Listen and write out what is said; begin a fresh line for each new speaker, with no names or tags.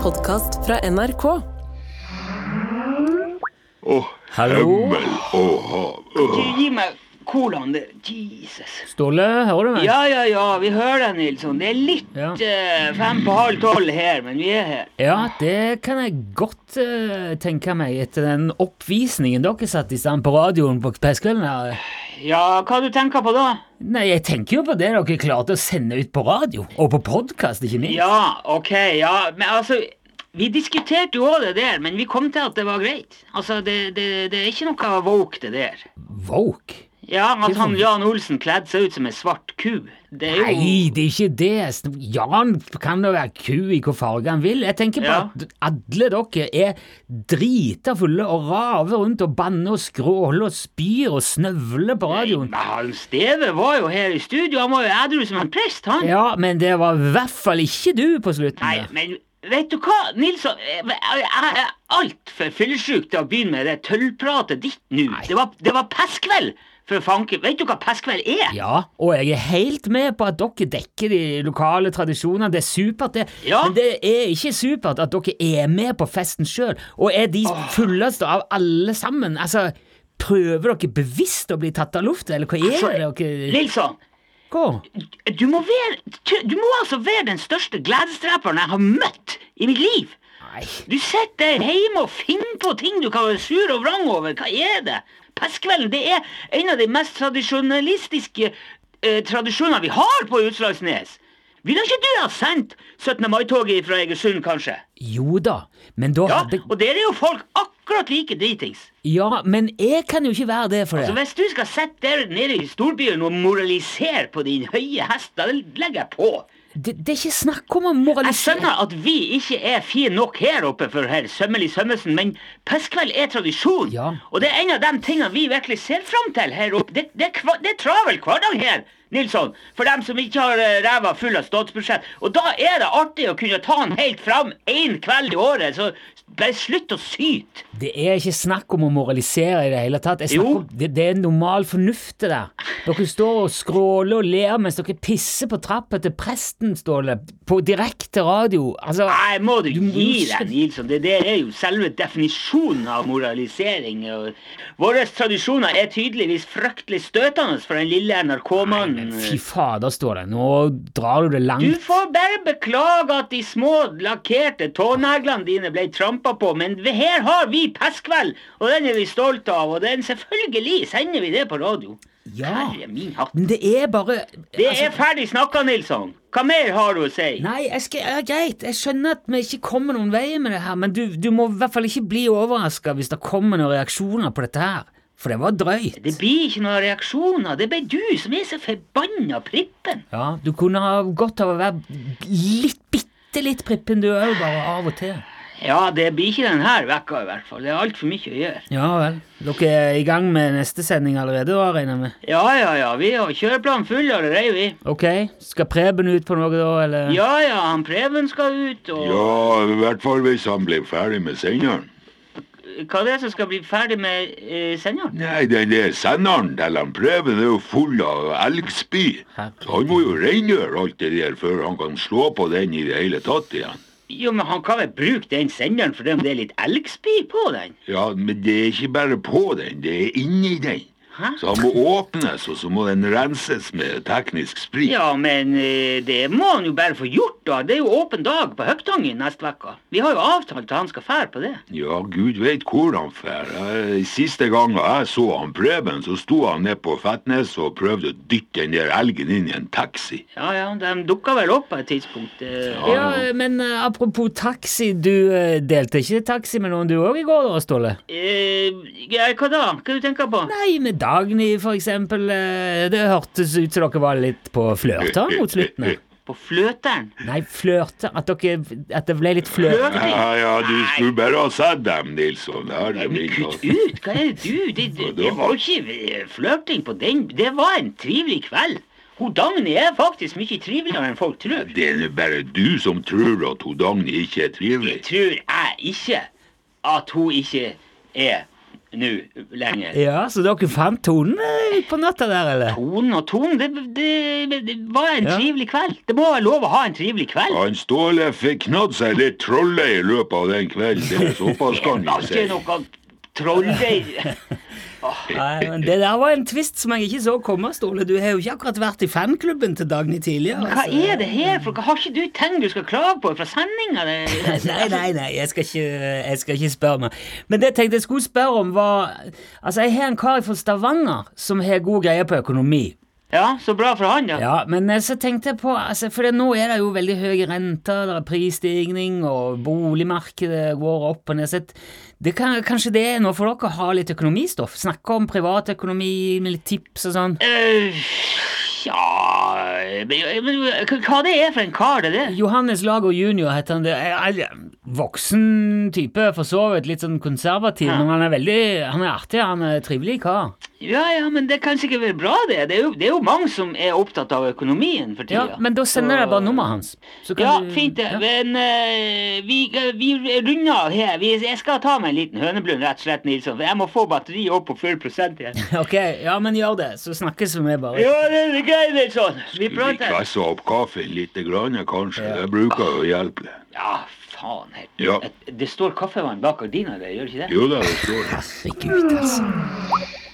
podkast fra NRK.
Åh,
Hallo?
himmel og hav. Åh.
Gi gi meg colaen der. Jesus.
Ståle, hører du meg?
Ja, ja, ja, vi hører deg, Nilsson. Det er litt
Ja.
eh, fem på halv tolv her, men vi er her.
Ja, det kan jeg godt eh, tenke meg etter den oppvisningen dere satte i stand på radioen på Pestkvelden her.
Ja, hva du tenker på da?
Nei, jeg tenker jo på det dere klarte å sende ut på radio, og på podkast, ikke minst.
Ja, ok, ja. Men altså, vi diskuterte jo også det der, men vi kom til at det var greit. Altså, det, det, det er ikke noe woke, det der.
Woke?
Ja, at han
Hvorfor?
Jan Olsen kledde seg ut som en svart ku. Det er jo
Nei, det er ikke det. Jan kan da være ku i hva farge han vil. Jeg tenker på
Ja.
at alle dere er drita fulle og raver rundt og banner og skråler og spyr og snøvler på radioen.
Men han Steve var jo her i studio, han var jo edru som en prest, han.
Ja, men det var i hvert fall ikke du på slutten.
Nei,
der.
men vet du hva, Nilsson? Eh, Jeg jeg er altfor fyllesyk til å begynne med det tøllpratet ditt nå. Det var, det var pestkveld, for fanken. Vet du hva pestkveld er?
Ja, og jeg er helt med på at dere dekker de lokale tradisjonene. Det er supert, det.
Ja.
Men det er ikke supert at dere er med på festen sjøl, og er de fulleste av alle sammen. Altså, prøver dere bevisst å bli tatt av lufta, eller hva
Altså,
er det dere
Nilsson,
går?
du må, være, du må altså være den største gledesdreperen jeg har møtt i mitt liv.
Nei.
Du sitter der hjemme og finner på ting du kan være sur og vrang over. Hva er det? Pestkvelden det er en av de mest tradisjonalistiske eh, tradisjoner vi har på Utslagsnes. Ville ikke du ha sendt 17. mai-toget fra Egersund, kanskje?
Jo da, men da
Ja,
hadde
Og der er jo folk akkurat like dritings.
Ja, men jeg kan jo ikke være det for
Så
det.
hvis du skal sitte der nede i storbyen og moralisere på din høye hest, da legger jeg på.
Det, det er ikke snakk om å
Jeg
moralisere.
skjønner at vi ikke er fine nok her oppe for herr Sømmelig Sømmelsen, men pestkveld er tradisjon.
Ja.
Og det er en av de tingene vi virkelig ser fram til her oppe. Det, det, er kva- det er travel hverdag her, Nilsson, for dem som ikke har eh, ræva full av statsbudsjett. Og da er det artig å kunne ta den helt fram én kveld i året, så bare slutt å syte.
Det er ikke snakk om å moralisere i det hele tatt. Jeg
Jo.
snakker om, det, det er normal fornuft det der. Dere står og skråler og ler mens dere pisser på trappa til presten, Ståle. På direkte radio. Altså,
Nei, må du
Du må
gi
jo
deg,
skjønne-
Nilsson. Det der er jo selve definisjonen av moralisering. og Våre tradisjoner er tydeligvis fryktelig støtende for den lille NRK-mannen.
fy fader, Ståle. Nå drar du det
Du
langt.
får bare beklage at de små lakkerte tåneglene dine ble trampa på, men vi- her har vi pestkveld, og den er vi stolte av, og den selvfølgelig sender vi det på radio.
Ja.
Herre min hatt.
Men det er bare altså,
Det er altså- ferdig snakka, Nilsson. Hva mer har du å si?
Nei, jeg skal, ja, greit, jeg skjønner at vi ikke kommer noen vei med det her, men du, du må i hvert fall ikke bli overraska hvis det kommer noen reaksjoner på dette her. For det var drøyt.
Det blir ikke noen reaksjoner. Det er bare du som er så forbanna prippen.
Ja, du kunne ha godt av å være litt, bitte litt prippen du òg, bare av og til.
Ja, det blir ikke denne vekka i hvert fall. Det er altfor mye å gjøre.
Ja vel. Dere er i gang med neste sending allerede, da, regner jeg med?
Ja, ja, ja. Vi har kjøreplanen full allerede, vi.
Ok, skal Preben ut på noe da, eller?
Ja, ja, han Preben skal ut, og
Ja, i hvert fall hvis han blir ferdig med senderen.
hva er det som skal bli ferdig med eh, senderen?
Nei, den der senderen til han Preben er jo full av elgspy. Så han må jo rengjøre alt det der før han kan slå på den i det hele tatt igjen.
Jo, men han kan vel bruke den senderen fordi om det er litt elgspy på den?
Ja, men det er ikke bare på den, det er inni den.
Hæ?
Så han må åpnes, og så må den renses med teknisk sprit.
Ja, men eh, det må han jo bare få gjort, da. Det er jo åpen dag på Høgtangen neste uke. Vi har jo avtalt at han skal fære på det.
Ja, gud veit hvor han fer. Jeg- Siste gangen jeg så han Preben, så sto han ned på Fettnes og prøvde å dytte den der elgen inn i en taxi.
Ja, ja, de dukka vel opp på et tidspunkt. eh.
Ja, men eh, apropos taxi, du eh, delte ikke taxi med noen du òg i går, da, Ståle?
Eh, ja, hva da? Hva du tenker på?
Nei, med Dagny for eksempel. eh, Det hørtes ut som dere var litt på flørta mot slutten. her.
På fløteren?
Nei, flørte At, dere, at det ble litt flørt.
Fløting?
Ja, ja, du skulle bare ha sett dem, Nilsson. Det har de
Men
ikke
kutt
noe.
ut! Hva er det du Det, det, det var jo ikke eh, flørting på den. Det var en trivelig kveld. Hun Dagny er faktisk mye triveligere enn folk tror.
Det er nå bare du som tror at hun Dagny ikke er
Det
trivelig.
tror jeg ikke at hun ikke er nå lenger.
Ja, så dere fant tonen eh, på natta der, eller?
Tonen og tonen, det, det, det var en
Ja.
trivelig kveld. Det må være lov å ha en trivelig kveld.
Han Ståle fikk knadd seg litt trolle i løpet av den kvelden. Det er såpass
Det
kan vi
var
si.
ikke noe trolldeig.
Nei, men Det der var en twist som jeg ikke så komme, Ståle. Du har jo ikke akkurat vært i fanklubben til Dagny tidligere. altså.
Hva
så-
er det her for noe? Har ikke du ting du skal klage på fra sendinga?
Nei, nei, nei, jeg skal ikke, jeg skal ikke spørre meg. Men det jeg tenkte jeg skulle spørre om, var Altså, jeg har en kar fra Stavanger som har god greie på økonomi.
Ja, så bra for han, ja.
Ja, Men eh, så tenkte jeg på altså, For det- nå er det jo veldig høye renter, det er prisstigning, og boligmarkedet går opp og ned. Så det kan, kanskje det er noe for dere å ha litt økonomistoff? Snakke om privatøkonomi med litt tips og sånn?
Eh, ja men, men, Hva det er for en kar, det der?
Johannes Lager junior heter han. Det er en voksen type, for så vidt. Litt sånn konservativ,
Ja.
men han er veldig Han er artig, han er trivelig kar.
Ja, ja, men det kan sikkert være bra, det. Det er jo, det er jo mange som er opptatt av økonomien for
Ja,
tida.
men da sender jeg bare nummeret hans. Så kan
Ja,
du-
fint det.
Ja.
Men eh, vi, eh, vi runder av her. Vi, jeg skal ta meg en liten høneblund, rett og slett, Nilsson. For jeg må få batteriet opp på full prosent igjen.
Ok, ja, men gjør det, så snakkes vi med bare.
Ja, det er greit, Nilsson. Vi
Vi
prater.
kvessa opp kaffen litt, grann, kanskje. Det bruker jo å hjelpe.
Ja, faen helt.
Ja.
Det står kaffevann bak gardina der, gjør det ikke det?
Jo da, det står det.
Herregud, altså.